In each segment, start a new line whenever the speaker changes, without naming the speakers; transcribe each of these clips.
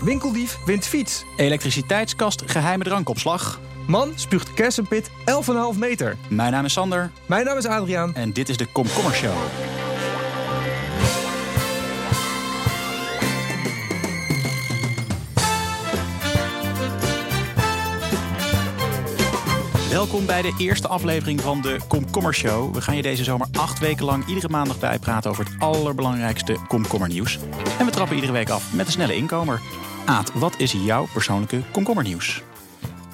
Winkeldief wint fiets.
Elektriciteitskast, geheime drankopslag.
Man spuugt kersenpit 11,5 meter.
Mijn naam is Sander
Mijn naam is Adriaan.
en dit is de Komkommer Show. Welkom bij de eerste aflevering van de Komkommer Show. We gaan je deze zomer acht weken lang iedere maandag bijpraten over het allerbelangrijkste komkommernieuws. En we trappen iedere week af met een snelle inkomer. Aad, wat is jouw persoonlijke komkommernieuws?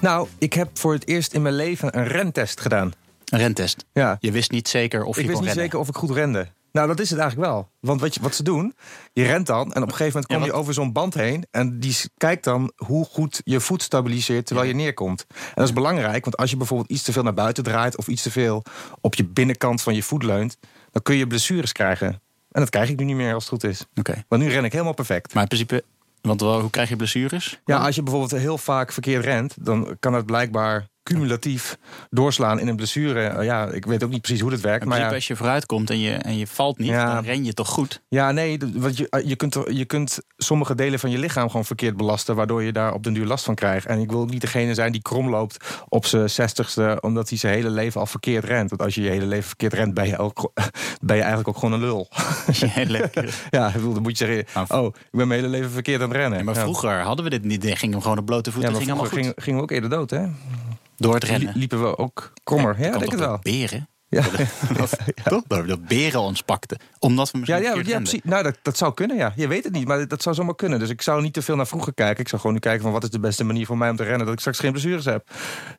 Nou, ik heb voor het eerst in mijn leven een rentest gedaan.
Een rentest.
Ja.
Je wist niet zeker of je
Ik
kon
wist niet
rennen.
zeker of ik goed rende. Nou, dat is het eigenlijk wel. Want wat, je, wat ze doen, je rent dan en op een gegeven moment kom
Ja,
je
wat-
over zo'n band heen. En die s- kijkt dan hoe goed je voet stabiliseert terwijl je neerkomt. En dat is belangrijk, want als je bijvoorbeeld iets te veel naar buiten draait. of iets te veel op je binnenkant van je voet leunt. dan kun je blessures krijgen. En dat krijg ik nu niet meer als het goed is.
Oké.
Want nu ren ik helemaal perfect.
Maar in principe, want wel, hoe krijg je blessures?
Ja, als je bijvoorbeeld heel vaak verkeerd rent, dan kan het blijkbaar cumulatief doorslaan in een blessure. Eh, Ja, ik weet ook niet precies hoe dat werkt.
In
Maar
principe,
ja,
als je vooruit komt en je, en je valt niet,
Ja.
dan ren je toch goed.
ja, nee, d- want je, eh, je, kunt, er- je kunt sommige delen van je lichaam gewoon verkeerd belasten, waardoor je daar op den duur last van krijgt. En ik wil niet degene zijn die krom loopt op zijn zestigste, omdat hij zijn hele leven al verkeerd rent. Want als je je hele leven verkeerd rent, ben je, ook, ben je eigenlijk ook gewoon een lul.
Ja, lekker.
ja, ik bedoel, dan moet je zeggen, oh,
Nou,
ik ben mijn hele leven verkeerd aan het rennen.
Ja, maar
Ja.
vroeger hadden we dit niet. Dan gingen we gewoon op blote
Ja,
voeten.
maar
ging
vroeger
allemaal
gingen
goed.
gingen we ook eerder dood, hè?
Door het rennen.
Lie- liepen we ook kommer. Ja,
Ik
denk het wel.
Beren.
Ja,
Dat, dat, dat beren ons pakten. Omdat we
ja,
misschien
ja,
verkeerd
ja
renden.
precies. Nou, dat, dat zou kunnen, ja. Je weet het niet, maar dat zou zomaar kunnen. Dus ik zou niet te veel naar vroeger kijken. Ik zou gewoon nu kijken van wat is de beste manier voor mij om te rennen... dat ik straks geen blessures heb.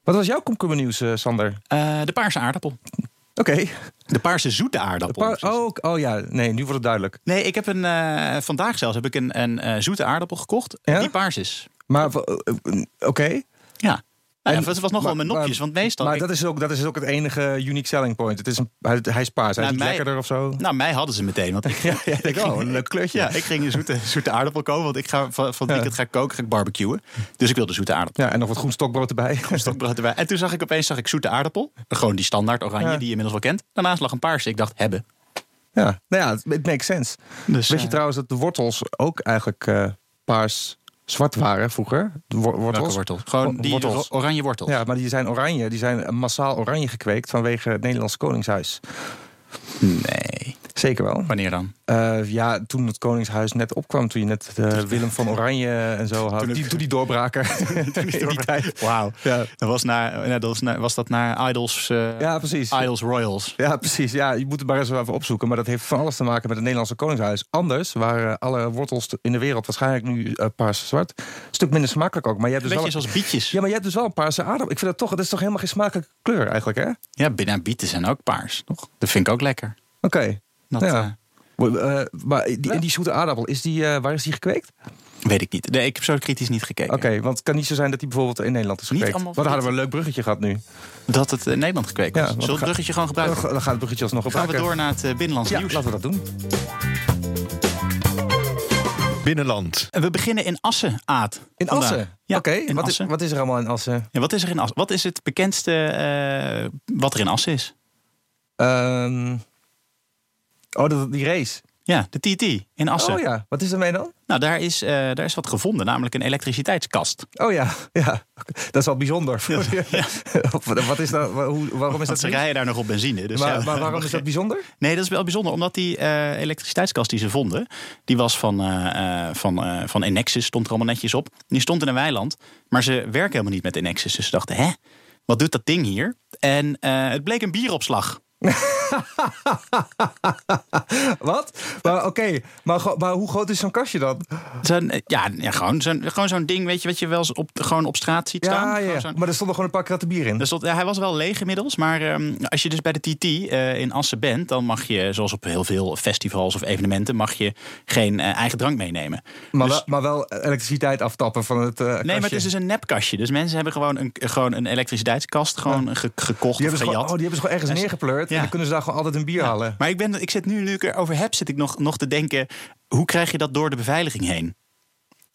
Wat was jouw komkommernieuws, nieuws, Sander?
Eh, de paarse aardappel.
Oké.
De paarse zoete aardappel.
Pa-
precies.
Oh, oh ja, nee, nu wordt het duidelijk.
Nee, ik heb een, eh, vandaag zelfs heb ik een, een eh, zoete aardappel gekocht.
Ja?
Die paars is.
Maar w- eh, eh, oké.
Ja. Nou,
En-
ja, het was nogal
maar-
met nopjes,
maar-
want meestal...
Maar
ik-
dat is, ook, dat is ook het enige unique selling point. Het is een, hij, hij is paars, hij
Nou,
is niet
mij-
lekkerder of zo.
Nou, mij hadden ze meteen. Want ik,
Ja, ja, ik ook. Een leuk kleurtje.
Ja, ik ging een zoete, zoete aardappel kopen. Want ik ga van, van het weekend ga ik koken, ga ik barbecuen. Dus ik wilde zoete aardappel.
Ja, en nog wat groen stokbrood erbij.
Stokbrood erbij. En toen zag ik opeens zag ik zoete aardappel. Gewoon die standaard oranje
Ja.
die je inmiddels wel kent. Daarnaast lag een paarse. Ik dacht, hebben.
Ja, nou ja, het- het makes sense.
Dus,
Weet je
eh,
trouwens dat de wortels ook eigenlijk eh, paars-zwart waren vroeger? De wo- wortels?
Welke wortel? Gewoon
Wo-
die
wortels.
ro- oranje wortels.
Ja, maar die zijn oranje. Die zijn massaal oranje gekweekt vanwege het Nederlands Koningshuis.
Nee.
Zeker wel.
Wanneer dan?
Eh, ja, toen het Koningshuis net opkwam, toen je net eh, Willem van Oranje en zo had.
Toen het-
die, toen die doorbraken. In die tijd.
Wauw.
Ja.
Dat was, na, nou, dat was, na, was dat naar Idols, eh,
Ah, Ja, precies.
Idols Royals.
Ja, precies. Ja, je moet het maar eens even opzoeken. Maar dat heeft van alles te maken met het Nederlandse Koningshuis. Anders waren alle wortels in de wereld waarschijnlijk nu eh, paars-zwart. Stuk minder smakelijk ook. Maar je hebt dus
Beetje
wel...
zoals bietjes.
Ja, maar je hebt dus wel een paarse aardappel. Ik vind dat toch, dat is toch helemaal geen smakelijke kleur eigenlijk, hè? Oké.
Ja, bieten zijn ook paars, toch? Dat vind ik ook lekker. Dat,
ja.
eh,
Maar, eh, maar die, in die zoete aardappel, is die, eh, waar is die gekweekt?
weet ik niet. Nee, ik heb zo kritisch niet gekeken.
Oké, want het kan niet zo zijn dat die bijvoorbeeld in Nederland is
Niet
gekweekt.
allemaal
Wat hadden we een leuk bruggetje gehad nu.
Dat het in Nederland gekweekt
Ja,
was.
want
Zullen we het
ga-
bruggetje gewoon
Dan
gebruiken?
gaan we het bruggetje alsnog
gaan we
gebruiken.
door naar het eh, binnenlands
Ja,
nieuws.
laten we dat doen.
Binnenland.
We beginnen in Assen, Aad.
In
vandaag.
Assen?
Ja,
Oké,
in
wat, is-
Assen.
wat is er allemaal in Assen?
Ja, wat is er in Assen? Wat is het bekendste eh, wat er in Assen is?
Ehm, oh, dat, die race.
Ja, de TT in Assen.
Oh ja, wat is ermee dan?
Nou, daar is, eh, daar is wat gevonden, namelijk een elektriciteitskast.
Oh ja, ja. dat is wel bijzonder.
Ja.
wat is dat, wa- hoe, waarom is
Want
dat
ze
nieuws?
rijden daar nog op benzine. Dus
Maar,
ja,
maar waarom is dat bijzonder?
Nee, dat is wel bijzonder, omdat die eh, elektriciteitskast die ze vonden, die was van, eh, eh, van, eh, van Enexis, stond er allemaal netjes op. Die stond in een weiland, maar ze werken helemaal niet met Enexis. Dus ze dachten, hè, wat doet dat ding hier? En eh, het bleek een bieropslag.
Wat? Maar oké, maar, go- maar hoe groot is zo'n kastje dan?
Zo'n, eh, ja, ja, gewoon zo'n gewoon zo'n ding, weet je, wat je wel eens op, gewoon op straat ziet staan.
Ja, ja,
Gewoon
ja.
zo'n-
maar er stonden gewoon een paar kratten bier in.
Dus dat, ja, hij was wel leeg inmiddels, maar ehm, als je dus bij de TT eh, in Assen bent, dan mag je, zoals op heel veel festivals of evenementen, mag je geen eh, eigen drank meenemen.
maar,
dus-
wel, maar wel elektriciteit aftappen van het eh
Nee, maar het is dus een nepkastje. Dus mensen hebben gewoon een, gewoon een elektriciteitskast gewoon ge- gekocht
die
of
hebben, ze
gejat.
gewoon, oh, die hebben ze gewoon ergens
En ze-
neergepleurd.
Ja.
En dan kunnen ze daar gewoon altijd een bier halen.
Maar ik, ben, ik zit nu, nu ik erover heb, zit ik nog, nog te denken... hoe krijg je dat door de beveiliging heen?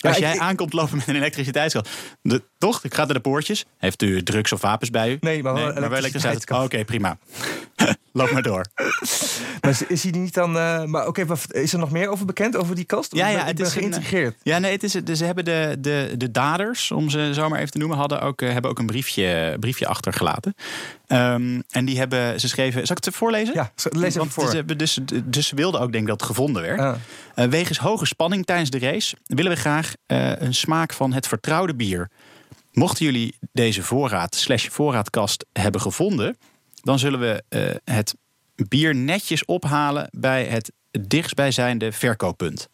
Als
ik-
jij
ik-
aankomt lopen met een elektriciteitskast. De, toch? Ik ga naar de poortjes. Heeft u drugs of wapens bij u?
Nee, maar wel
wel elektriciteit.
elektriciteitskast.
Oké, prima. Loop maar door.
Maar is- is hij niet dan. eh, maar oké, maar is er nog meer over bekend? Over die kast?
Ja,
Ik
ja,
ben- ik
het
ben
is een- eh,
geïntegreerd.
Ja, nee, het is, dus ze hebben de, de, de daders, om ze zo maar even te noemen, hadden ook, eh, hebben ook een briefje, eh, briefje achtergelaten. Ehm, en die hebben, ze schreven, zal ik het voorlezen?
Ja, zo- lees even
Want
voor.
Ze, hebben dus, dus ze wilden ook denk ik dat het gevonden werd.
Ja.
Eh, wegens hoge spanning tijdens de race willen we graag eh, een smaak van het vertrouwde bier. Mochten jullie deze voorraad slash voorraadkast hebben gevonden, dan zullen we eh, het bier netjes ophalen bij het dichtstbijzijnde verkooppunt.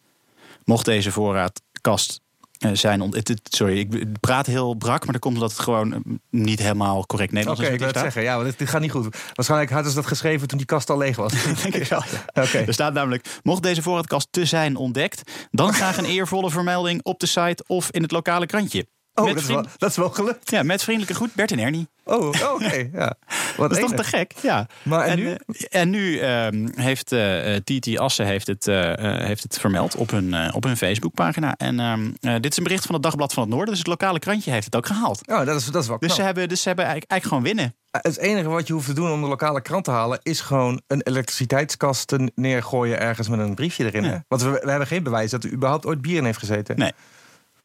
Mocht deze voorraadkast eh, zijn. ont- het- het- sorry, ik praat heel brak, maar dat komt omdat het gewoon eh, niet helemaal correct
Oké,
Nederlands
ik
is.
wil
wat
het
hier staat.
zeggen. Ja, want dit, dit gaat niet goed. Waarschijnlijk hadden ze dat geschreven toen die kast al leeg was. Oké.
Denk ik wel. ja. Er staat namelijk, mocht deze voorraadkast te zijn ontdekt, dan graag een eervolle vermelding op de site of in het lokale krantje.
Oh,
met,
dat is, wel,
vriend-
dat is wel gelukt.
ja, met vriendelijke groet Bert en Ernie.
Oh, oh, oké. ja. Wat
Dat is toch
enig.
te gek? Ja.
Maar en nu?
eh, en nu ehm, heeft eh eh, Titi Assen heeft het, eh, eh, heeft het vermeld op hun, eh, op hun Facebookpagina. En ehm, eh, dit is een bericht van het Dagblad van het Noorden, dus het lokale krantje heeft het ook gehaald.
Oh, dat is, dat is wel
Dus,
knap.
ze, hebben, dus ze hebben eigenlijk, eigenlijk gewoon winnen.
Eh, Het enige wat je hoeft te doen om de lokale krant te halen... is gewoon een elektriciteitskast te neergooien ergens met een briefje erin.
Ja.
hè? Want we, we hebben geen bewijs dat er überhaupt ooit bier in heeft gezeten.
Nee.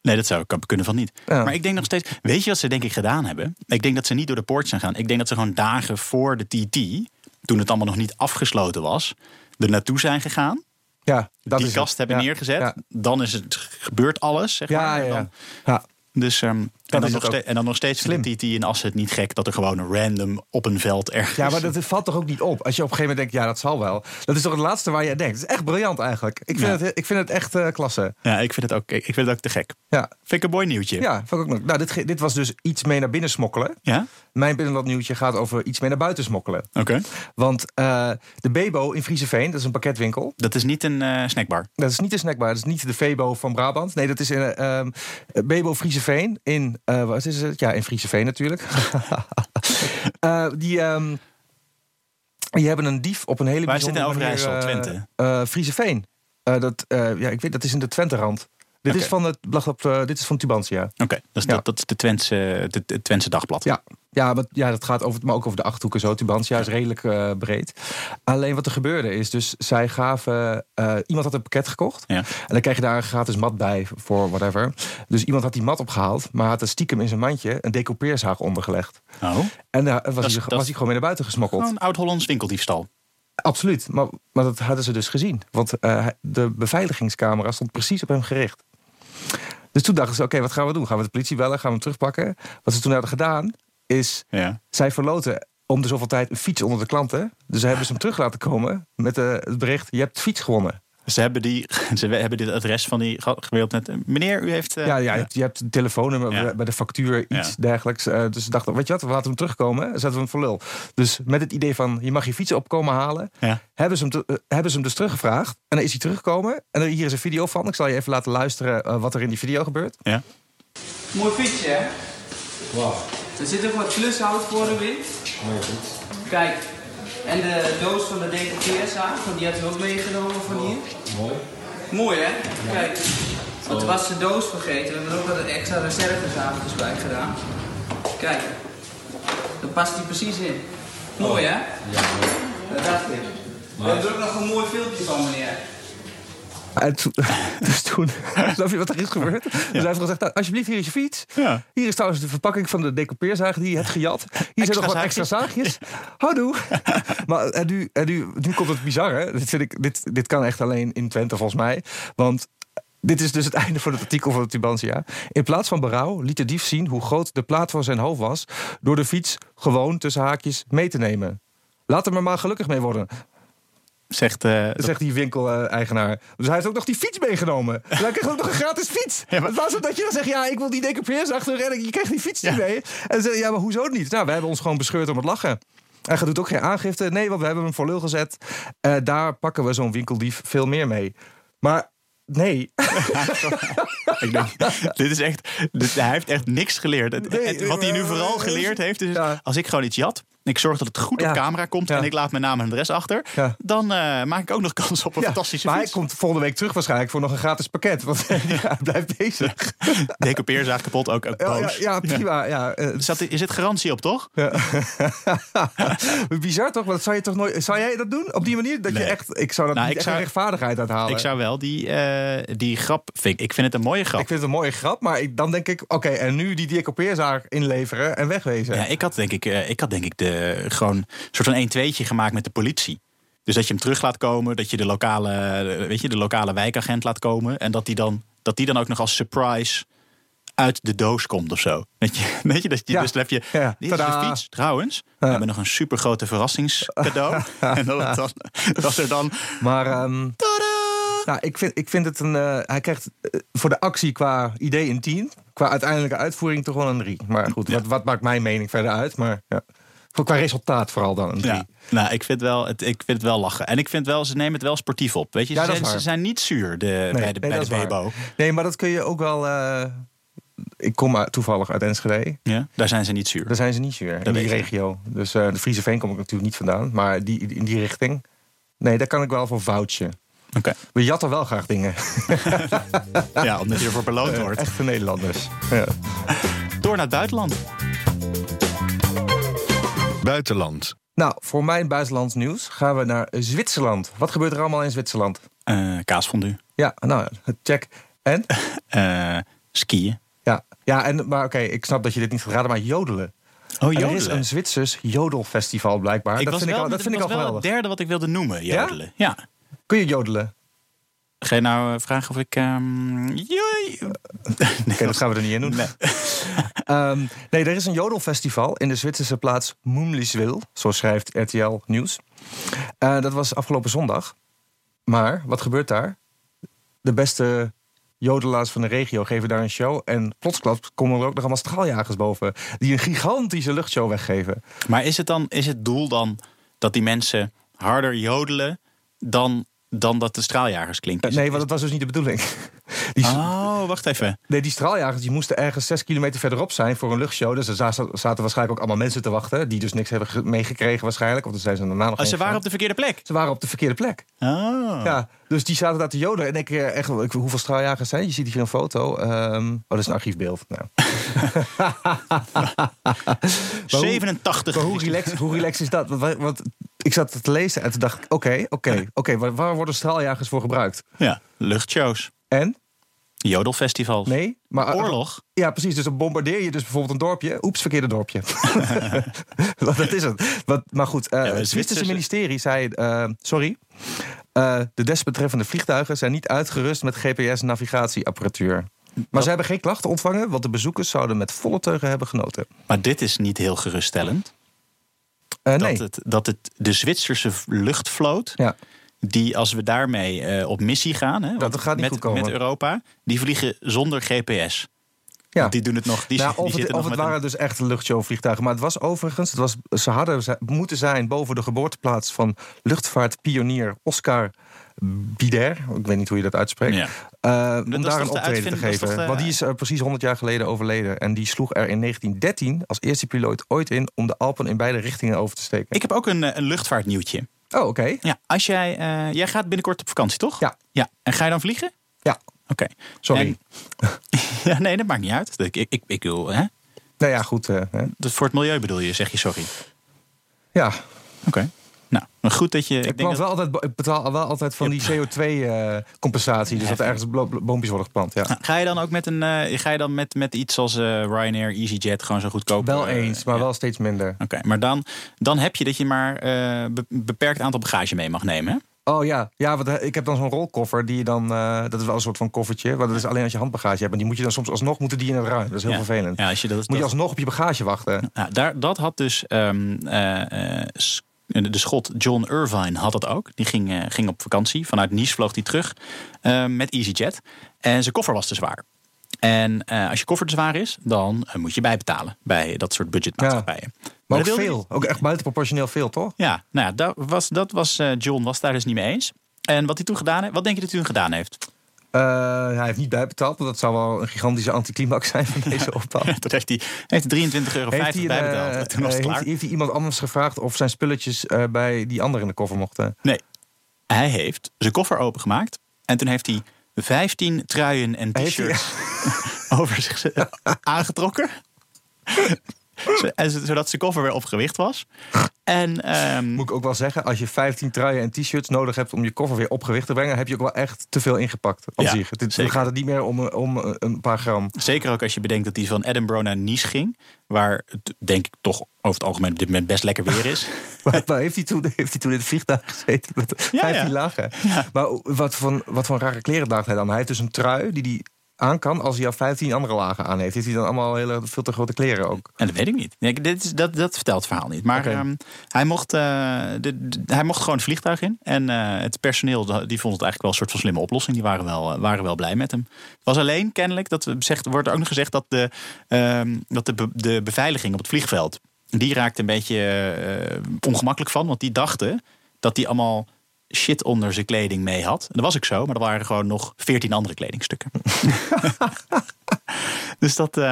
Nee, dat zou ik kunnen van niet.
Ja.
Maar ik denk nog steeds. Weet je wat ze denk ik gedaan hebben? Ik denk dat ze niet door de poort zijn gaan. Ik denk dat ze gewoon dagen voor de TT, toen het allemaal nog niet afgesloten was, er naartoe zijn gegaan.
Ja, dat
die
is
kast
het.
hebben
Ja,
neergezet.
Ja,
Dan is het gebeurd alles. Zeg
ja,
maar.
ja.
En
ja.
dan-
ja.
Dus, ehm, en,
is
dan
het
nog
ook.
steeds, en dan nog steeds vindt de TT in Assen het niet gek dat er gewoon een random op een veld ergens.
Ja, maar dat valt toch ook niet op. Als je op een gegeven moment denkt, ja, dat zal wel. Dat is toch het laatste waar je aan denkt. Het is echt briljant eigenlijk. Ik vind,
Ja.
het, he- ik vind het echt eh, klasse.
Ja, ik vind het ook, ik vind het ook te gek.
Ja,
Vind ik een mooi nieuwtje.
ja vond ik ook nog. Nou, dit, ge- dit was dus iets mee naar binnen smokkelen.
Ja?
Mijn binnenland nieuwtje gaat over iets mee naar buiten smokkelen.
Oké.
Want eh, de Bebo in Vriezenveen, dat is een pakketwinkel.
Dat is niet een eh, snackbar.
Dat is niet de snackbar, dat is niet de Febo van Brabant. Nee, dat is in, eh, ehm, Bebo Vriezenveen in, eh, wat is het? Ja, in Vriezenveen natuurlijk. Eh, die, ehm, die hebben een dief op een hele
Waar zit in
bijzondere
Overijssel,
manier, eh,
Twente?
eh, Vriezenveen. Eh, dat, eh, ja, ik weet, dat is in de Twente-rand. Dit,
Oké.
is van het blad op, eh, dit is van Tubantia.
Oké, dat, is
Ja.
dat, dat is de Twentse, de, het Twentse dagblad.
Ja, ja, maar, ja dat gaat over, maar ook over de Achterhoeken zo. Tubantia is redelijk eh, breed. Alleen wat er gebeurde is, dus zij gaven... eh, iemand had een pakket gekocht.
Ja.
En dan krijg je daar een gratis mat bij voor whatever. Dus iemand had die mat opgehaald... maar had er stiekem in zijn mandje een decoupeerzaag ondergelegd.
Oh.
En daar was,
is-
hij,
dat- Oh.
was hij gewoon weer naar buiten gesmokkeld.
Gewoon een oud-Hollands winkeldiefstal.
Absoluut, maar, maar dat hadden ze dus gezien. Want eh, de beveiligingscamera stond precies op hem gericht. Dus toen dachten ze, oké, wat gaan we doen? Gaan we de politie bellen? Gaan we hem terugpakken? Wat ze toen hadden gedaan, is
Ja.
zij verloten om de zoveel tijd een fiets onder de klanten. Dus ze hebben ze hem terug laten komen met eh, het bericht... je hebt de fiets gewonnen.
Ze hebben, die, ze hebben dit adres van die ge- gemaild met... eh, Meneer, u heeft... eh,
Ja, ja, je hebt- je hebt een telefoonnummer
Ja.
bij de factuur, iets
Ja.
dergelijks. Eh, dus ze dachten, weet je wat, we laten hem terugkomen. Zetten we hem voor lul. Dus met het idee van, je mag je fiets opkomen halen...
ja.
hebben ze, hem te- eh, hebben ze hem dus teruggevraagd. En dan is hij teruggekomen. En er- hier is een video van. Ik zal je even laten luisteren eh, wat er in die video gebeurt.
ja.
Mooi fietsje, hè? Er zit ook wat klushout voor hem in. Mooi Kijk, en de doos van de decoupeerzaag, want die had we ook meegenomen van hier. Mooi. Mooi, hè? Kijk, want er was de doos vergeten. We hebben er ook wat extra reservezaagjes bij gedaan. Kijk, daar past hij precies in. Mooi, hè? Oh. Ja, Dat dacht ik. We hebben er ook nog een mooi filmpje van, meneer.
En toen, dus toen, snap je wat er is gebeurd? Dus hij heeft gezegd, nou, alsjeblieft, hier is je fiets.
Ja.
Hier is trouwens de verpakking van de decoupeerzaag die je hebt gejat. Hier zijn
Extra
nog wat extra zaagjes. Houdoe. Maar en nu, en nu, nu komt het bizarre. Dit, vind ik, dit, dit kan echt alleen in Twente, volgens mij. Want... Dit is dus het einde van het artikel van de Tubantia. In plaats van berouw liet de dief zien hoe groot de plaat van zijn hoofd was... door de fiets gewoon tussen haakjes mee te nemen. Laat hem er maar gelukkig mee worden.
Zegt... eh, dat-
Zegt die winkel-eigenaar. Dus hij heeft ook nog die fiets meegenomen. Dus hij kreeg ook nog een gratis fiets.
Ja, maar-
Het was dat je dan zegt, ja, ik wil die decoupeers achter en ik- je krijgt die fiets niet
Ja.
mee. En ze zeggen, ja, maar hoezo niet? Nou, we hebben ons gewoon bescheurd om het lachen. En hij doet ook geen aangifte. Nee, want we hebben hem voor lul gezet. Eh, daar pakken we zo'n winkeldief veel meer mee. Maar nee,
ik denk, dit is echt... dit- hij heeft echt niks geleerd. Het-
Nee,
het- wat hij nu
eh,
vooral geleerd heeft is...
ja.
Als ik gewoon iets jat... en ik zorg dat het goed
Ja.
op camera komt...
Ja.
en ik laat mijn naam en adres achter...
Ja.
dan eh, maak ik ook nog kans op een fantastische
maar
fiets.
hij komt volgende week terug waarschijnlijk voor nog een gratis pakket. Want ja, hij blijft bezig.
Decoupeerzaag kapot, ook, ook
Ja, ja,
boos.
ja, prima. Ja. eh,
Dus dat, is het garantie op, toch?
Bizar toch? Want zou, je toch nooit, zou jij dat doen? Op die manier? Dat
Nee.
je echt, ik zou dat
Nou,
niet
ik
echt
zou-
een rechtvaardigheid uithalen.
Ik zou wel die, eh, die grap... vind Ik, ik vind het een mooie grap.
Ik vind het een mooie grap, maar ik, dan denk ik... Oké, en nu die decoupeerzaag inleveren en wegwezen.
Ja, ik had denk ik, eh, ik, had denk ik de, gewoon een soort van 1-2'tje gemaakt met de politie. Dus dat je hem terug laat komen, dat je de lokale, eh, weet je, de lokale wijkagent laat komen. En dat die, dan, dat die dan ook nog als surprise uit de doos komt of zo. Weet je, weet je, dat je
Ja.
dus dan heb je.
Ja,
Dit is de
tadaa.
fiets trouwens. We hebben nog een super grote verrassingscadeau. en dat, dan, dat er dan.
Maar ehm, nou, ik, vind, ik vind het een... eh, hij krijgt eh, voor de actie qua idee een 10. Qua uiteindelijke uitvoering toch wel een 3. Maar goed, wat, wat maakt mijn mening verder uit? Maar ja. Voor- Qua resultaat vooral dan een 3.
Ja, nou, ik vind, wel, het, ik vind het wel lachen. En ik vind wel, ze nemen het wel sportief op. Weet je,
Ja,
ze,
dat
zijn,
is waar.
ze zijn niet zuur de, bij
nee,
de, bij
dat
de
is waar.
Bebo.
Nee, maar dat kun je ook wel... eh, ik kom uit- toevallig uit Enschede.
Ja, daar zijn ze niet zuur.
Daar zijn ze niet zuur, in
weet
die
ik.
regio. Dus eh, de Friese Veen kom ik natuurlijk niet vandaan. Maar die, in die richting... Nee, daar kan ik wel voor vouchen.
Oké.
We jatten wel graag dingen.
Ja, omdat je ervoor beloond wordt.
Echte Nederlanders. Ja.
Door naar het buitenland.
Buitenland.
Nou, voor mijn buitenlands nieuws gaan we naar Zwitserland. Wat gebeurt er allemaal in Zwitserland?
Eh kaasfondue.
Ja, nou, check. En?
Eh, skiën.
Ja, ja en, maar oké, ik snap dat je dit niet gaat raden, maar jodelen.
Oh,
Ah, Er is een Zwitsers jodelfestival blijkbaar. dat vind ik al, dat vind ik al
wel het
geweldig.
derde wat ik wilde noemen,
Ja?
jodelen. Ja?
Kun je jodelen?
Ga je nou eh, vragen of ik... ehm, joi-
Oké, dat gaan we er niet in doen. Nee. Ehm, nee, er is een jodelfestival in de Zwitserse plaats Moemliswil. Zo schrijft RTL Nieuws. Eh, dat was afgelopen zondag. Maar wat gebeurt daar? De beste jodelaars van de regio geven daar een show. En plotsklaps komen er ook nog allemaal straaljagers boven. Die een gigantische luchtshow weggeven.
Maar is het, dan, is het doel dan dat die mensen harder jodelen dan, dan dat de straaljagers klinken?
Eh,
Is
nee,
het-
want dat was dus niet de bedoeling. Die,
Oh, wacht even.
Nee, die straaljagers die moesten ergens zes kilometer verderop zijn voor een luchtshow. Dus er za- zaten waarschijnlijk ook allemaal mensen te wachten. Die dus niks hebben ge- meegekregen waarschijnlijk. Of dan zijn ze daarna nog
Oh, ze
heen
waren
gegaan.
op de verkeerde plek.
Ze waren op de verkeerde plek.
Oh.
Ja, dus die zaten daar te joden. En ik, eh, echt, ik, hoeveel straaljagers zijn? Je ziet hier een foto. Ehm, oh, dat is een archiefbeeld. Nou.
87.
Maar hoe relaxed, hoe relaxed is dat? Want, want ik zat het te lezen en toen dacht ik... oké, oké, oké, waar, waar worden straaljagers voor gebruikt?
Ja, luchtshows.
En?
Jodelfestivals.
Nee? Maar,
Oorlog.
Ja, precies. Dus dan bombardeer je dus bijvoorbeeld een dorpje. Oeps, verkeerde dorpje. Want dat is het. Wat, maar goed, eh,
maar
het Zwitserse
Zwitsers-
ministerie zei... eh, sorry, eh, de desbetreffende vliegtuigen zijn niet uitgerust met GPS-navigatieapparatuur. Maar ze hebben geen klachten ontvangen, want de bezoekers zouden met volle teugen hebben genoten.
Maar dit is niet heel geruststellend.
Eh, nee.
dat, het, dat het de Zwitserse v- luchtvloot,
Ja.
die als we daarmee eh, op missie gaan, hè, want
gaat niet
met,
goed komen.
met Europa, die vliegen zonder GPS.
Ja.
Want Die doen het nog. Die,
Nou,
die
of het,
zitten
of
nog
het
met
waren dus echt luchtshowvliegtuigen. Maar het was overigens, het was, ze hadden ze- moeten zijn boven de geboorteplaats van luchtvaartpionier Oscar Bider. Ik weet niet hoe je dat uitspreekt.
Ja.
Eh,
Dat
om
is
daar
toch
een optreden
de
te
uitvinding, dat is
geven.
toch de-
Want die is eh, precies 100 jaar geleden overleden. En die sloeg er in 1913 als eerste piloot ooit in om de Alpen in beide richtingen over te steken.
een- Ik heb ook een, eh, een luchtvaartnieuwtje.
Oh, oké.
Ja, als jij, eh, jij gaat binnenkort op vakantie, toch?
Ja.
ja. En ga je dan vliegen?
Ja,
Oké.
sorry.
En- ja, nee, dat maakt niet uit. Ik, ik, ik, ik wil, hè?
Nou ja, goed. eh, hè.
Dat voor het milieu bedoel je, zeg je sorry.
ja,
Oké. Nou, maar goed dat je.
ik, plant wel altijd, ik betaal wel altijd van die CO2-compensatie. dus dat er ergens blo- blo- boompjes worden geplant. Ja.
Ah, Ga je dan ook met, een, eh, ga je dan met, met iets als eh, Ryanair, EasyJet gewoon zo goedkoop?
Wel
eh,
eens, maar wel steeds minder.
Oké, maar dan, dan heb je dat je maar eh, be- beperkt aantal bagage mee mag nemen. Hè?
Oh ja, ja want eh, ik heb dan zo'n rolkoffer die je dan. eh, dat is wel een soort van koffertje. Maar dat is alleen als je handbagage hebt. En die moet je dan soms alsnog moeten die in het ruim. Dat is heel
Ja.
vervelend.
Ja, als je dat,
Moet je
dat-
alsnog op je bagage wachten.
nou, daar, dat had dus ehm, eh, eh, S- de schot John Irvine had dat ook. Die ging, eh, ging op vakantie. Vanuit Nice vloog hij terug eh, met EasyJet. En zijn koffer was te zwaar. En eh, als je koffer te zwaar is, dan eh, moet je bijbetalen bij dat soort budgetmaatschappijen.
Maar ook
dat wilde
veel. Ook echt buitenproportioneel veel, toch?
Ja, nou ja, dat was, dat was eh, John was daar dus niet mee eens. En wat hij toen gedaan heeft, wat denk je dat hij toen gedaan heeft?
Eh, hij heeft niet bijbetaald, want dat zou wel een gigantische anticlimax zijn van deze opbouw.
Toen heeft hij heeft hij 23,50 euro
Heeft hij, een,
bijbetaald.
eh,
Toen was het
heeft-
klaar.
heeft hij iemand anders gevraagd of zijn spulletjes eh, bij die ander in de koffer mochten?
Nee, hij heeft zijn koffer opengemaakt. En toen heeft hij 15 truien en
Heeft hij-
t-shirts over zich z- aangetrokken. Zo- en zo- Zodat zijn koffer weer opgewicht was. En ehm,
Moet ik ook wel zeggen, als je 15 truien en t-shirts nodig hebt om je koffer weer op gewicht te brengen, heb je ook wel echt te veel ingepakt. Op
Ja,
zich. Het- het- Dan
zeker.
gaat het niet meer om, eh, om eh, een paar gram.
Zeker ook als je bedenkt dat hij van Edinburgh naar Nice ging. Waar het denk ik toch over het algemeen op dit moment best lekker weer is.
Maar, maar heeft, hij toen, heeft hij toen in het vliegtuig gezeten met 15
ja.
lagen?
Ja.
Maar wat voor, wat voor rare kleren draagt hij dan? Hij heeft dus een trui die hij aan kan als hij al 15 andere lagen aan heeft. Heeft hij dan allemaal hele, veel te grote kleren ook?
En dat weet ik niet. Nee, dit is, dat, dat vertelt het verhaal niet. Maar
Oké.
ehm, hij, mocht, eh, de, de- hij mocht gewoon het vliegtuig in. En eh, het personeel die vond het eigenlijk wel een soort van slimme oplossing. Die waren wel, eh, waren wel blij met hem. Het was alleen kennelijk, dat zegt, wordt ook nog gezegd... dat, de, ehm, dat de, be- de beveiliging op het vliegveld... die raakte een beetje eh, ongemakkelijk van. Want die dachten dat hij allemaal shit onder zijn kleding mee had. En dat was ik zo, maar er waren gewoon nog veertien andere kledingstukken. dus dat... eh,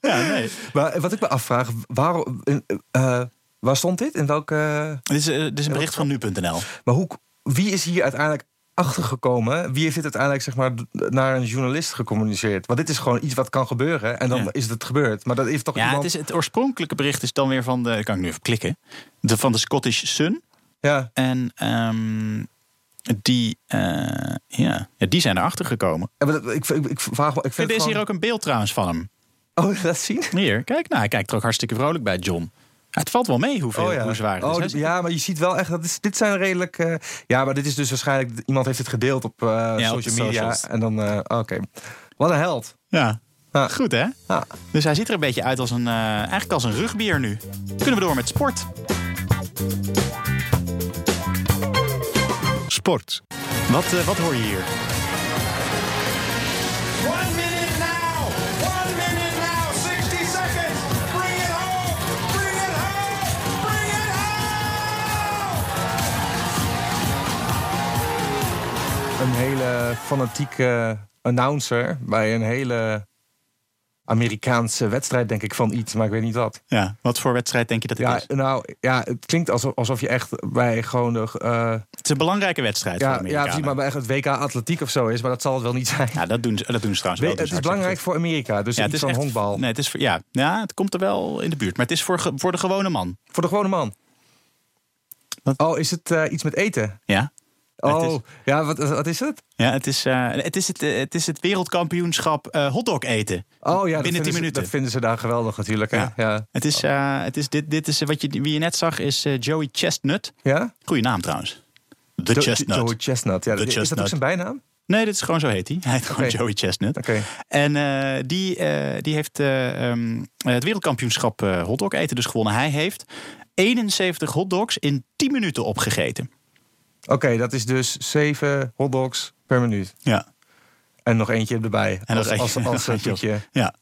ja, nee.
Maar wat ik me afvraag, waarom, eh, eh, waar stond dit? In welke...
Dit is, eh, dit is een bericht van nu.nl.
Maar hoe, wie is hier uiteindelijk achtergekomen? Wie heeft dit uiteindelijk zeg maar, d- naar een journalist gecommuniceerd? Want dit is gewoon iets wat kan gebeuren en dan
Ja.
is het gebeurd. Maar dat heeft toch
Ja,
iemand...
het, is, het oorspronkelijke bericht is dan weer van de. Kan ik nu even klikken? De, van de Scottish Sun.
Ja,
En ehm, die, eh, ja, ja, die zijn erachter gekomen.
Ja, maar dat- ik, ik, ik vraag wel... Ik vind
Er is
het
hier ook een beeld trouwens van hem.
gewoon... Oh, dat zien?
Hier, kijk, nou, hij kijkt er ook hartstikke vrolijk bij, John. Het valt wel mee hoeveel,
Oh ja.
hoe zwaar het is.
oh,
Hij
d-
zit-
ja, maar je ziet wel echt dat is, dit zijn redelijk. eh, ja, maar dit is dus waarschijnlijk iemand heeft het gedeeld op eh,
op de
social media
socials.
en dan eh, oké. Wat een held.
ja.
Ah.
Goed, hè?
Ah.
Dus hij ziet er een beetje uit als een, eh, eigenlijk als een rugbier nu. Kunnen we door met sport?
Sport.
Wat, eh, wat hoor je hier?
One minute now! One minute now! 60 seconds! Bring it home! Bring it home! Bring it home!
Een hele fanatieke eh, announcer bij een hele Amerikaanse wedstrijd denk ik van iets, maar ik weet niet wat.
Ja, wat voor wedstrijd denk je dat het
Ja,
is?
nou ja, het klinkt alsof, alsof je echt bij gewoon de eh,
Het is een belangrijke wedstrijd voor
ja,
de
ja,
Amerikanen.
precies, maar bij echt het WK atletiek of zo is, maar dat zal het wel niet zijn.
Ja, dat doen ze, dat doen ze trouwens
We-
wel.
het
Dus
is
hartstikke
belangrijk
goed.
voor Amerika, dus
Ja,
iets van
echt-
honkbal.
Nee, het is voor, ja, ja, het komt er wel in de buurt. Maar het is voor, ge- voor de gewone man.
Voor de gewone man.
Wat?
Oh, is het eh, iets met eten?
Ja,
Oh,
Het
ja, wat, wat is het?
ja het, is, eh, het, is het, eh, het is het wereldkampioenschap eh hotdog eten.
Oh ja, dat
Binnen
vinden
10
ze-
minuten.
Dat vinden ze daar geweldig natuurlijk. hè?
Ja.
Ja. Ja?
Het is, eh, het is, dit, dit is eh, wat je, wie je net zag, is eh, Joey Chestnut. Goeie naam trouwens. The
Jo-
Chestnut.
Joey Chestnut. Ja,
The
is dat
Chestnut.
ook zijn bijnaam?
Nee, dit is gewoon zo heet hij. Hij heet gewoon
Oké.
Joey Chestnut.
Oké.
En eh, die, eh, die heeft eh, ehm, het wereldkampioenschap eh hotdog eten dus gewonnen. Hij heeft 71 hotdogs in 10 minuten opgegeten.
Oké, dat is dus zeven hotdogs per minuut.
Ja.
En nog eentje erbij.
En
als,
dat
als, als, eh, toetje.
Ja.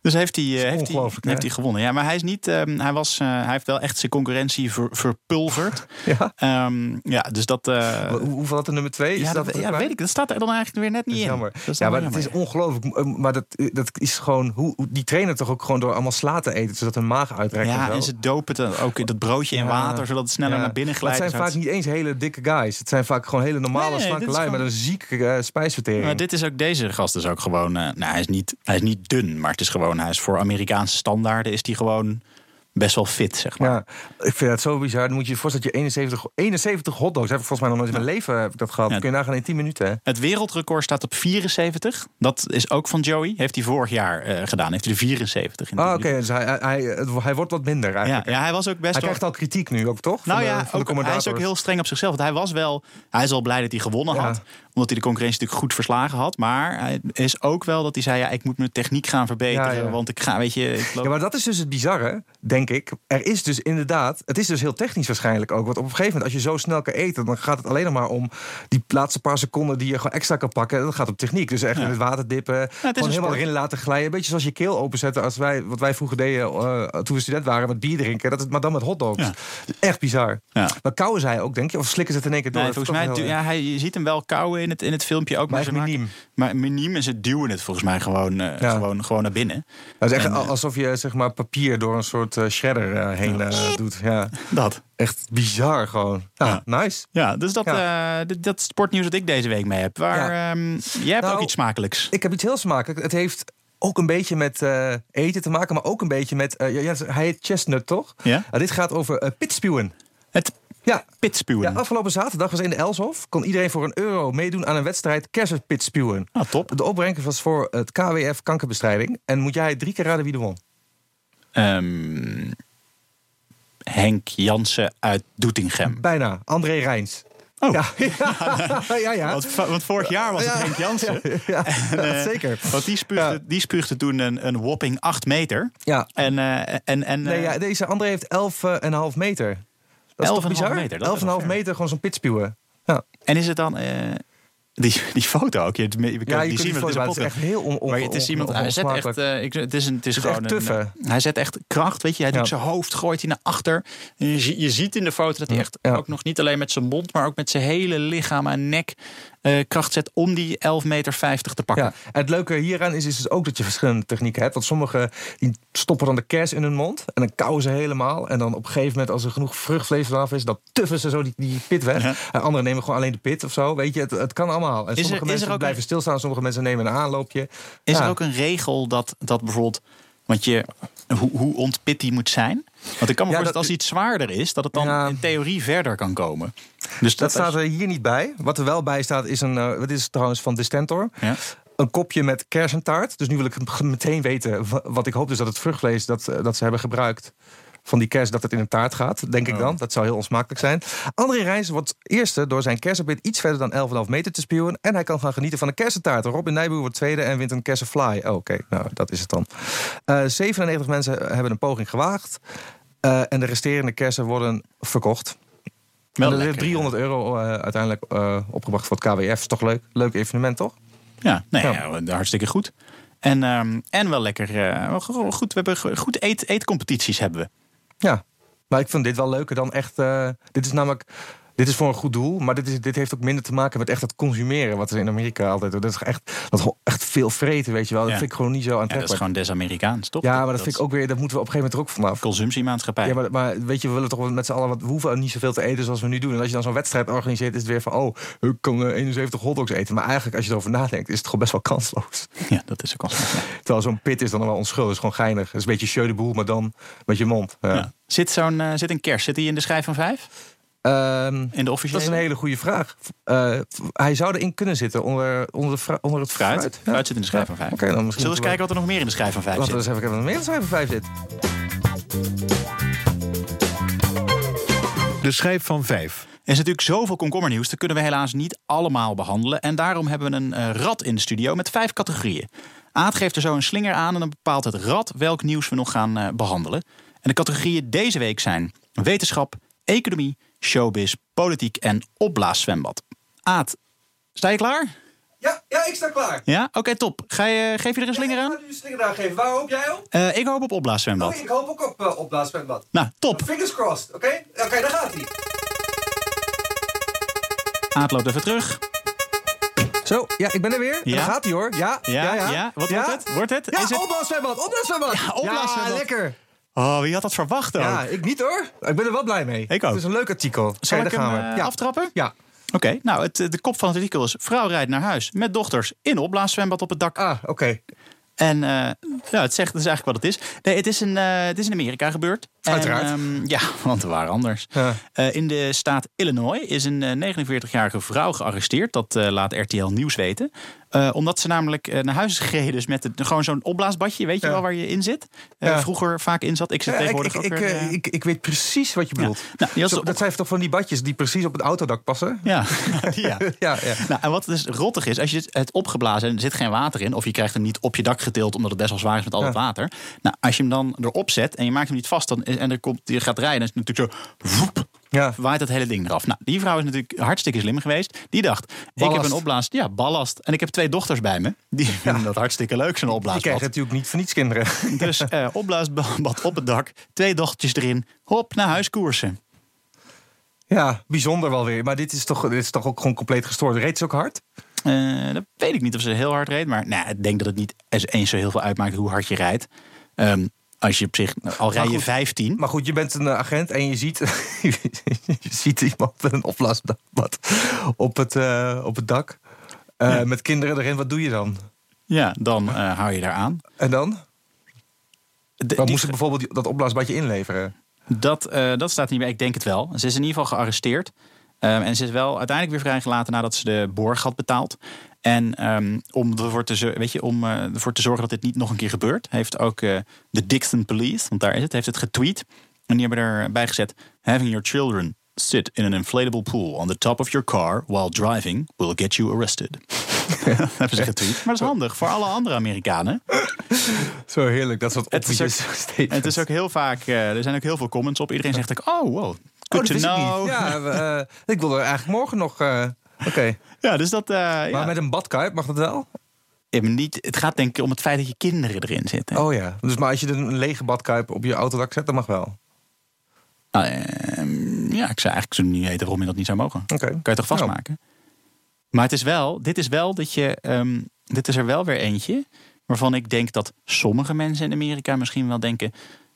Dus heeft hij, eh, heeft, hij,
ongelooflijk, hè?
heeft hij gewonnen. Ja, maar hij, is niet, ehm, hij, was, eh, hij heeft wel echt zijn concurrentie ver- verpulverd.
Ja?
Ehm, ja, dus dat... eh,
Hoe- hoeveel had de nummer twee? Is
ja, dat,
het
ja,
erbij?
weet ik. Dat staat er dan eigenlijk weer net niet
Dat is
in.
jammer.
Dat is
ja,
dan
maar
wel
het is
jammer,
ongelooflijk. eh, Maar dat, dat is gewoon hoe hoe- die trainen toch ook gewoon door allemaal sla te eten, zodat hun maag
ja.
uitrekt.
Ja,
zo.
en ze dopen het dan ook in dat broodje in
Ja.
water, zodat het sneller
Ja.
naar binnen
Maar
glijdt.
Het zijn
Dus
vaak
dat-
niet eens hele dikke guys. Het zijn vaak gewoon hele normale,
Nee,
slanke
dit is
lui
gewoon-
met een zieke eh, spijsvertering.
Maar dit is ook, deze gast is ook gewoon... eh, nou, hij is, niet, hij is niet dun, maar het is gewoon... Hij is voor Amerikaanse standaarden is hij gewoon best wel fit, zeg maar.
Ja, ik vind dat zo bizar. Dan moet je je voorstellen dat je 71, 71 hotdogs... heb ik volgens mij nog nooit in mijn leven heb ik dat gehad.
Ja.
Kun je nagaan in 10 minuten, hè?
Het wereldrecord staat op 74. Dat is ook van Joey. Heeft hij vorig jaar eh, gedaan. Heeft hij de 74 in de
Ah, oké,
minuut.
dus hij, hij, hij, het- hij wordt wat minder
Ja,
eigenlijk.
ja, hij was ook best
Hij
wel...
krijgt al kritiek nu ook, toch? Van
Nou
de-
ja,
van de
ook, hij is ook
commentators.
heel streng op zichzelf. Want hij was wel... Hij is al blij dat hij gewonnen
Ja.
had. Omdat hij de concurrentie natuurlijk goed verslagen had. Maar hij is ook wel dat hij zei... Ja, ik moet mijn techniek gaan verbeteren.
Ja, ja.
Want ik ga, weet je... Ik loop...
Ja, maar dat is dus het bizarre, denk denk ik. Er is dus inderdaad, het is dus heel technisch waarschijnlijk ook. Want op een gegeven moment, als je zo snel kan eten, dan gaat het alleen nog maar om die laatste paar seconden die je gewoon extra kan pakken. Dat gaat om techniek. Dus echt in het water dippen,
een
gewoon helemaal
sport.
erin laten glijden. Een beetje zoals je keel openzetten, als wij, wat wij vroeger deden eh, toen we student waren, met bier drinken. Dat, is- maar dan met hotdogs.
Ja.
Echt bizar.
Ja.
Maar kauwen zij ook, denk je? Of slikken ze het in één keer door?
Nee,
Dat
volgens mij,
is ook
du-
heel
ja, hij, je ziet hem wel kauwen in het, in het filmpje ook.
Maar
ze
echt
maken-
miniem.
Maar miniem en ze duwen het volgens mij gewoon, eh,
Ja.
gewoon, gewoon naar binnen.
Het Nou, is echt
En, eh,
alsof je zeg maar, papier door een soort eh, shredder eh, heen eh, doet. Ja.
Dat.
Echt bizar gewoon. Ja, nice.
Ja, dus dat, eh, dit- dat is het sportnieuws dat ik deze week mee heb. Waar,
Ja.
ehm, jij hebt
Nou,
ook iets smakelijks.
Ik heb iets heel smakelijk. Het heeft ook een beetje met eh, eten te maken, maar ook een beetje met... eh, ja, ja, hij heet Chestnut, toch?
Ja.
Nou, dit gaat over eh, pitspuwen.
Het
Ja.
pitspuwen.
Ja, afgelopen zaterdag was in de Elshof. Kon iedereen voor een euro meedoen aan een wedstrijd kersenpitspuwen.
Ah, top.
De opbrengst was voor het KWF kankerbestrijding. En moet jij drie keer raden wie er won?
Ehm, Henk Jansen uit Doetinchem.
Bijna. André Rijns.
Oh.
Ja, ja, ja. ja.
Want, va- want vorig jaar was het Henk Jansen.
Ja,
eh,
zeker.
Want die spuugde, die spuugde toen een, een whopping 8 meter.
Ja.
En, eh, en, en
Nee,
eh,
ja, deze André heeft eh, 11,5 meter. Dat is
11,5
toch bizar?
meter, dat is
11,5
wel ver.
meter, gewoon zo'n pitspieuwen. Ja,
En is het dan. eh, die, die foto ook. Je, we kunnen-
ja je
die
kunt
zien
die
we,
foto,
dat
maar
is
het
een
is echt heel
podcast.
on, on,
Maar het is
on-
iemand.
on-
hij zet echt.
onsmakelijk.
eh, ik, het is, een, het is
Het is
gewoon.
echt
een,
tuffen.
eh, hij zet echt kracht. Weet je, hij doet
Ja.
zijn hoofd, gooit hij naar achter. En je, zie- je ziet in de foto dat hij echt
Ja.
ook nog niet alleen met zijn mond, maar ook met zijn hele lichaam en nek eh, kracht zet om die 11,50 meter te pakken.
Ja, en het leuke hieraan is, is dus ook dat je verschillende technieken hebt. Want sommigen die stoppen dan de kers in hun mond en dan kauwen ze helemaal. En dan op een gegeven moment, als er genoeg vruchtvlees vanaf is, dan tuffen ze zo die, die pit weg. En anderen nemen gewoon alleen de pit of zo. Weet je, het, het kan allemaal. En
er-
sommige
is er
mensen
ook een-
blijven stilstaan, sommige mensen nemen een aanloopje.
Is
Ja.
er ook een regel dat, dat bijvoorbeeld. Want je, hoe, hoe ontpit die moet zijn? Want ik kan me
Ja,
voorstellen dat
dat-
als iets zwaarder is, dat het dan
Ja.
in theorie verder kan komen. Dus
Dat
dat,
staat
als-
er hier niet bij. Wat er wel bij staat is een. eh, Wat is het trouwens van Distentor?
Ja.
Een kopje met kersentaart. Dus nu wil ik g- meteen weten. wa- Wat ik hoop dus dat het vruchtvlees dat, eh, dat ze hebben gebruikt. Van die kers dat het in een taart gaat, denk ik
Oh.
dan. Dat zou heel onsmakelijk zijn. André Reis wordt eerste door zijn kersenpit iets verder dan 11,5 meter te spuwen. En hij kan gaan genieten van een kersentaart. Robin Nijboer wordt tweede en wint een kersenfly. Oh, Oké, nou dat is het dan. Eh, 97 mensen hebben een poging gewaagd. Eh, en de resterende kersen worden verkocht.
Wel
En er is
lekker.
300 euro eh, uiteindelijk eh, opgebracht voor het KWF. Is toch leuk? Leuk evenement, toch?
Ja, nee,
Ja.
ja, hartstikke goed. En, ehm, en wel lekker. eh, go- goed, we hebben go- goed eet, eetcompetities hebben we.
Ja. Maar ik vind dit wel leuker dan echt... eh, dit is namelijk... Dit is voor een goed doel, maar dit, is, dit heeft ook minder te maken met echt dat consumeren. Wat ze in Amerika altijd doen. Dat is echt, dat ho- echt veel vreten, weet je wel. Dat
Ja.
vind ik gewoon niet zo
Ja, dat is
aantrekkelijk. Ja,
gewoon des-Amerikaans, toch?
maar dat, vind ik ook weer... Dat moeten we op een gegeven moment er ook vanaf.
is Consumptiemaatschappij.
Ja, maar, maar weet je, we willen toch wel met z'n allen... Wat, we hoeven niet zoveel te eten zoals we nu doen. En als je dan zo'n wedstrijd organiseert, is het weer van... Oh, ik kan eh, 71 hotdogs eten. Maar eigenlijk, als je erover nadenkt, is het gewoon best wel kansloos.
Ja, dat is ook al. Ja.
Terwijl zo'n pit is dan wel onschuldig. is gewoon geinig. Het is een beetje show de boel, maar dan met je mond. Ja.
Ja. Zit, zo'n, eh, zit een kers, zit die in de schijf van vijf?
Ehm,
In de officiële?
dat is een hele goede vraag. Eh, v- hij zou erin kunnen zitten onder, onder, de fra- onder het fruit.
Fruit?
Ja.
Fruit zit in de schijf van vijf.
Oké, dan misschien
Zullen we eens kijken wat er nog meer in de schijf van vijf
Laten we
zit?
eens even kijken wat er meer in de schijf van vijf zit.
De schijf van vijf.
Er is natuurlijk zoveel komkommernieuws, dat kunnen we helaas niet allemaal behandelen. En daarom hebben we een eh, rad in de studio met vijf categorieën. Aad geeft er zo een slinger aan en dan bepaalt het rad welk nieuws we nog gaan eh, behandelen. En de categorieën deze week zijn wetenschap, economie, showbiz, politiek en opblaaszwembad. Aad, sta je klaar?
Ja, ja, ik sta klaar.
Ja? Oké, top. Ga je, geef je er een slinger aan?
nu een slinger aan geven. Waar hoop jij op?
Eh, ik hoop op opblaaszwembad.
ik hoop ook op uh, opblaaspenbad.
Nou, top.
Fingers crossed, oké? Oké, daar gaat hij.
Aad loopt even terug.
Zo, ja, ik ben er weer.
Ja.
Daar gaat hij hoor. Ja, ja, ja.
Wat wordt het? Wordt het?
Ja,
Is het?
opblaaspenbad, opblaaspenbad. Ja,
opblaaszwembad.
lekker.
Oh, wie had dat verwacht ook?
Ja, ik niet hoor. Ik ben er wel blij mee.
Ik ook.
Het is een leuk artikel.
Zal
Oké,
ik
daar
hem
gaan we.
eh,
ja.
aftrappen?
Ja.
Oké, nou, het, eh, de kop van het artikel is... vrouw rijdt naar huis met dochters in opblaaszwembad op het dak.
Ah, oké.
En eh ja, het zegt dat is eigenlijk wat het is. Nee, het is in, eh, het is in Amerika gebeurd. En,
Uiteraard.
ehm, ja, want waar anders.
Ja.
Eh, in de staat Illinois is een eh, 49-jarige vrouw gearresteerd. Dat eh, laat RTL Nieuws weten. Eh, omdat ze namelijk eh, naar huis is gereden. Dus met het- gewoon zo'n opblaasbadje, weet je
Ja.
wel, waar je in zit. Eh,
Ja.
Vroeger vaak in zat. Ik zit
Ja, ik,
tegenwoordig
ik,
ook
ik,
weer...
eh,
eh,
ik, ik weet precies wat je bedoelt.
Nou, die was
Zo-
op-
Dat zijn toch van die badjes die precies op het autodak passen?
ja, die, ja.
Ja, ja.
Nou, en wat dus rottig is, als je het opgeblazen en er zit geen water in, of je krijgt hem niet op je dak getild omdat het best wel zwaar is met al dat
Ja.
water. Nou, als je hem dan erop zet en je maakt hem niet vast dan, en er komt, je gaat rijden, dan is het natuurlijk zo. Voep,
Ja.
waait dat hele ding eraf. Nou, die vrouw is natuurlijk hartstikke slim geweest. Die dacht: ik
Ballast.
heb een opblaas, ja, ballast. En ik heb twee dochters bij me. Die vinden dat hartstikke leuk, zo'n
Die
opblaasbad.
krijgen natuurlijk niet van niets kinderen.
Dus eh opblaasbad op het dak, twee dochtertjes erin, hop, naar huis koersen.
Ja, bijzonder wel weer. Maar dit is toch, dit is toch ook gewoon compleet gestoord. Reed ze ook hard?
Eh, dat weet ik niet of ze heel hard reed. Maar nou, ik denk dat het niet eens- eens zo heel veel uitmaakt hoe hard je rijdt. Ehm, als je op zich, al rij je
goed.
15.
Maar goed, je bent een eh, agent en je ziet, je ziet iemand met een opblaasbad op het, eh, op het dak. Eh, Met kinderen erin, wat doe je dan?
ja, dan eh, hou je daar aan.
En dan?
De-
Dan
die-
moesten bijvoorbeeld Eh, die- dat opblaasbadje inleveren.
dat, eh, dat staat er niet bij. Ik denk het wel. Ze is in ieder geval gearresteerd. Ehm, en ze is wel uiteindelijk weer vrijgelaten nadat ze de borg had betaald. En ehm, om, ervoor te, zo- weet je, om eh, ervoor te zorgen dat dit niet nog een keer gebeurt, heeft ook eh, de Dixon Police, want daar is het, heeft het getweet. En die hebben erbij gezet: Having your children sit in an inflatable pool on the top of your car while driving will get you arrested. dat hebben ze getweet. Maar dat is handig voor alle andere Amerikanen.
Zo heerlijk, dat soort Oh,
Het is
obvious
ook-
statements.
En het is ook heel vaak, eh, er zijn ook heel veel comments op. Iedereen zegt ook: Oh, wow.
Oh, dat
Good to
wist ik
know.
niet. Ja, we, eh, ik wil er eigenlijk morgen nog... eh, Oké,
Ja, dus dat. eh,
maar
ja.
met een badkuip mag dat wel?
Ja, maar niet, het gaat denk ik om het feit dat je kinderen erin zitten.
Oh ja, dus maar als je een lege badkuip op je autodak zet, dat mag wel.
Nou, ehm, ja, ik zou eigenlijk zo niet weten waarom je dat niet zou mogen.
Oké. Nou.
Kan je toch vastmaken? Maar het is wel, dit is wel dat je. ehm, dit is er wel weer eentje. Waarvan ik denk dat sommige mensen in Amerika misschien wel denken.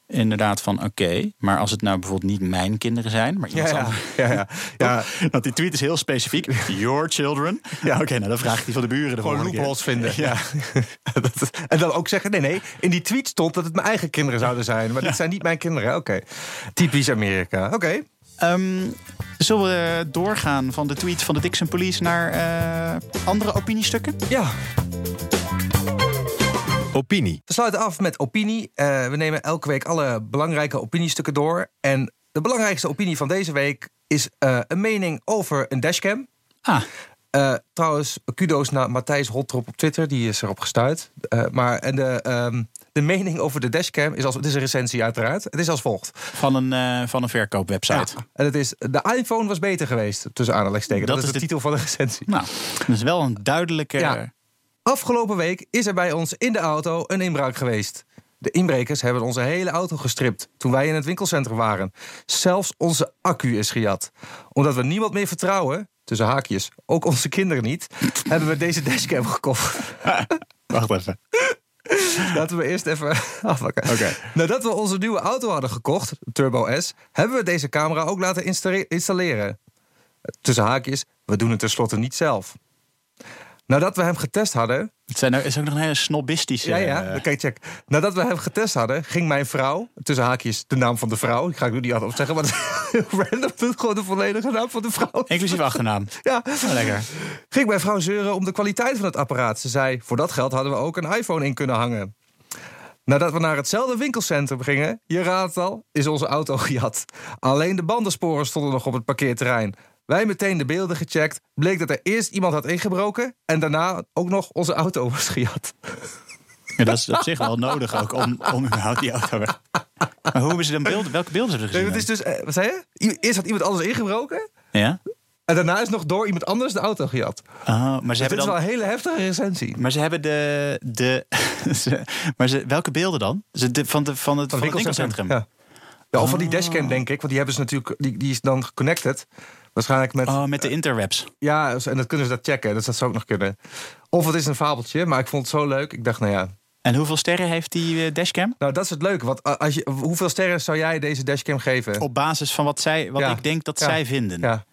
Inderdaad, van oké, maar als het nou bijvoorbeeld niet mijn kinderen zijn, maar
Ja,
iemand
ja,
anders.
ja, ja. ja.
Want die tweet is heel specifiek. Your children. Ja, oké, nou dan vraag ik die van de buren. de
Gewoon
volgende keer.
loopholes vinden. Ja. Dat- en dan ook zeggen, nee, nee, in die tweet stond dat het mijn eigen kinderen zouden zijn. Maar dit zijn niet mijn kinderen, oké. Typisch Amerika, oké.
Ehm, zullen we doorgaan van de tweet van de Dixon Police naar eh, andere opiniestukken?
Ja,
Opinie.
we sluiten af met opinie. Eh, we nemen elke week alle belangrijke opiniestukken door. En de belangrijkste opinie van deze week is eh, een mening over een dashcam.
Ah,
Eh, trouwens, kudo's naar Matthijs Holtrop op Twitter. Die is erop gestuurd. Eh, maar en de, ehm, de mening over de dashcam is als... Het is een recensie uiteraard. Het is als volgt.
van een, eh, van een verkoopwebsite.
Ja. En het is... De iPhone was beter geweest, tussen aanhalingstekens.
Dat
Dat,
is
is de
de-
titel van de recensie.
Nou, dat is wel een duidelijke...
Ja. Afgelopen week is er bij ons in de auto een inbraak geweest. De inbrekers hebben onze hele auto gestript toen wij in het winkelcentrum waren. Zelfs onze accu is gejat. Omdat we niemand meer vertrouwen, tussen haakjes, ook onze kinderen niet, hebben we deze dashcam gekocht.
Wacht even.
Laten we eerst even afpakken.
Oké.
Nadat we onze nieuwe auto hadden gekocht, de Turbo S, hebben we deze camera ook laten installe- installeren. Tussen haakjes, we doen het tenslotte niet zelf. Nadat we hem getest hadden.
Het zijn, ook- is ook nog een hele snobistische...
Ja, ja,
eh,
oké, check. Nadat we hem getest hadden, ging mijn vrouw. Tussen haakjes, de naam van de vrouw. Ik ga het nu niet altijd opzeggen, maar het is random. Gewoon de volledige naam van de vrouw.
inclusief achternaam.
Ja,
Nou, lekker.
Ging mijn vrouw zeuren om de kwaliteit van het apparaat. Ze zei, voor dat geld hadden we ook een iPhone in kunnen hangen. Nadat we naar hetzelfde winkelcentrum gingen, je raadt het al, is onze auto gejat. Alleen de bandensporen stonden nog op het parkeerterrein. Wij meteen de beelden gecheckt, bleek dat er eerst iemand had ingebroken... en daarna ook nog onze auto was gejat.
Ja, dat is op zich wel nodig ook om, om überhaupt die auto weg... Maar hoe hebben ze dan beelden? Welke beelden hebben ze
Nee,
gezien?
het is dus, eh, wat zei je? I- Eerst had iemand anders ingebroken...
dan? Ja?
en daarna is nog door iemand anders de auto gejat.
Oh, maar ze
Dit
hebben
is
dan...
wel een hele heftige recensie.
Maar ze hebben de... de ze- maar ze, welke beelden dan? Ze, de, van, de, van het, van het winkelcentrum?
Ja. Ja, of van die dashcam, denk ik. Want die hebben ze natuurlijk, die, die is dan geconnected. Waarschijnlijk met.
Oh, met de interwebs.
Ja, en dat kunnen ze dat checken. Dus dat zou ook nog kunnen. Of het is een fabeltje, maar ik vond het zo leuk. Ik dacht, nou ja.
En hoeveel sterren heeft die eh, dashcam?
Nou, dat is het leuke. Want a- als je, hoeveel sterren zou jij deze dashcam geven?
Op basis van wat, zij, wat
Ja.
ik denk dat
Ja.
zij vinden. Ja.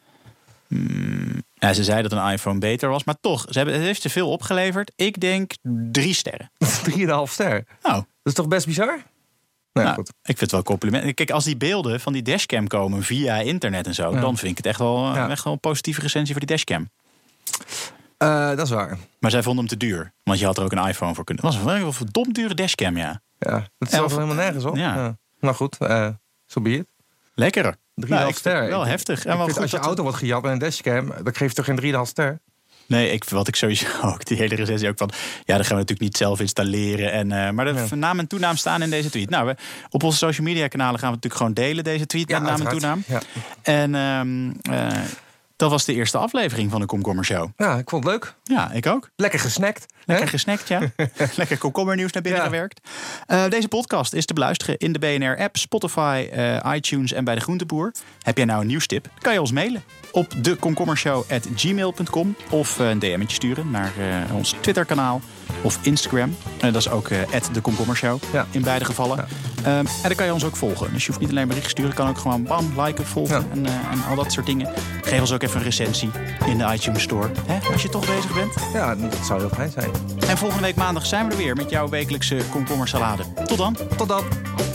Ja.
ze zei dat een iPhone beter was, maar toch, ze hebben, het heeft te veel opgeleverd. Ik denk drie sterren.
3,5 ster.
Nou,
Dat is toch best bizar? Nou, ja,
nou,
goed.
ik vind het wel een compliment. Kijk, als die beelden van die dashcam komen via internet en zo, dan vind ik het echt wel, eh,
Ja.
echt wel een positieve recensie voor die dashcam.
Eh, dat is waar.
Maar zij vonden hem te duur. Want je had er ook een iPhone voor kunnen. Het was een verdomd dure dashcam, ja.
Ja, dat is
Elf-
wel helemaal nergens op.
Ja.
Nou goed, eh zo be it.
Lekker.
3,5
Nou, ik-
ster.
Wel
Ik-
heftig.
ik
En wel
vind
goed
als je
dat-
auto wordt gejapt en een dashcam, dan geef je toch geen 3,5 ster?
Nee, ik, wat ik sowieso ook, die hele recensie ook van... Ja, dat gaan we natuurlijk niet zelf installeren. En, eh, maar de
Ja.
naam en toenaam staan in deze tweet. Nou, we, op onze social media kanalen gaan we natuurlijk gewoon delen deze tweet met naam en toenaam.
uiteraard. Ja.
En ehm, eh, dat was de eerste aflevering van de Komkommer Show.
ja, ik vond het leuk.
Ja, ik ook.
Lekker gesnackt.
Lekker
hè?
gesnackt, ja. Lekker komkommernieuws naar binnen
Ja.
gewerkt. Eh, deze podcast is te beluisteren in de BNR-app, Spotify, eh, iTunes en bij de Groenteboer. Heb jij nou een nieuwstip? Kan je ons mailen op dekomkommershow.gmail.com of eh, een DM'tje sturen naar eh, ons Twitterkanaal of Instagram. Eh, dat is ook eh @dekomkommershow
Ja.
in beide gevallen. Ehm, en dan kan je ons ook volgen. Dus je hoeft niet alleen berichten te sturen, je kan ook gewoon bam, liken, volgen
Ja.
en, eh, en al dat soort dingen. Geef ons ook even een recensie in de iTunes Store, hè, als je toch bezig bent.
Ja, dat zou heel fijn zijn.
En volgende week maandag zijn we er weer met jouw wekelijkse komkommersalade. Tot dan.
Tot dan.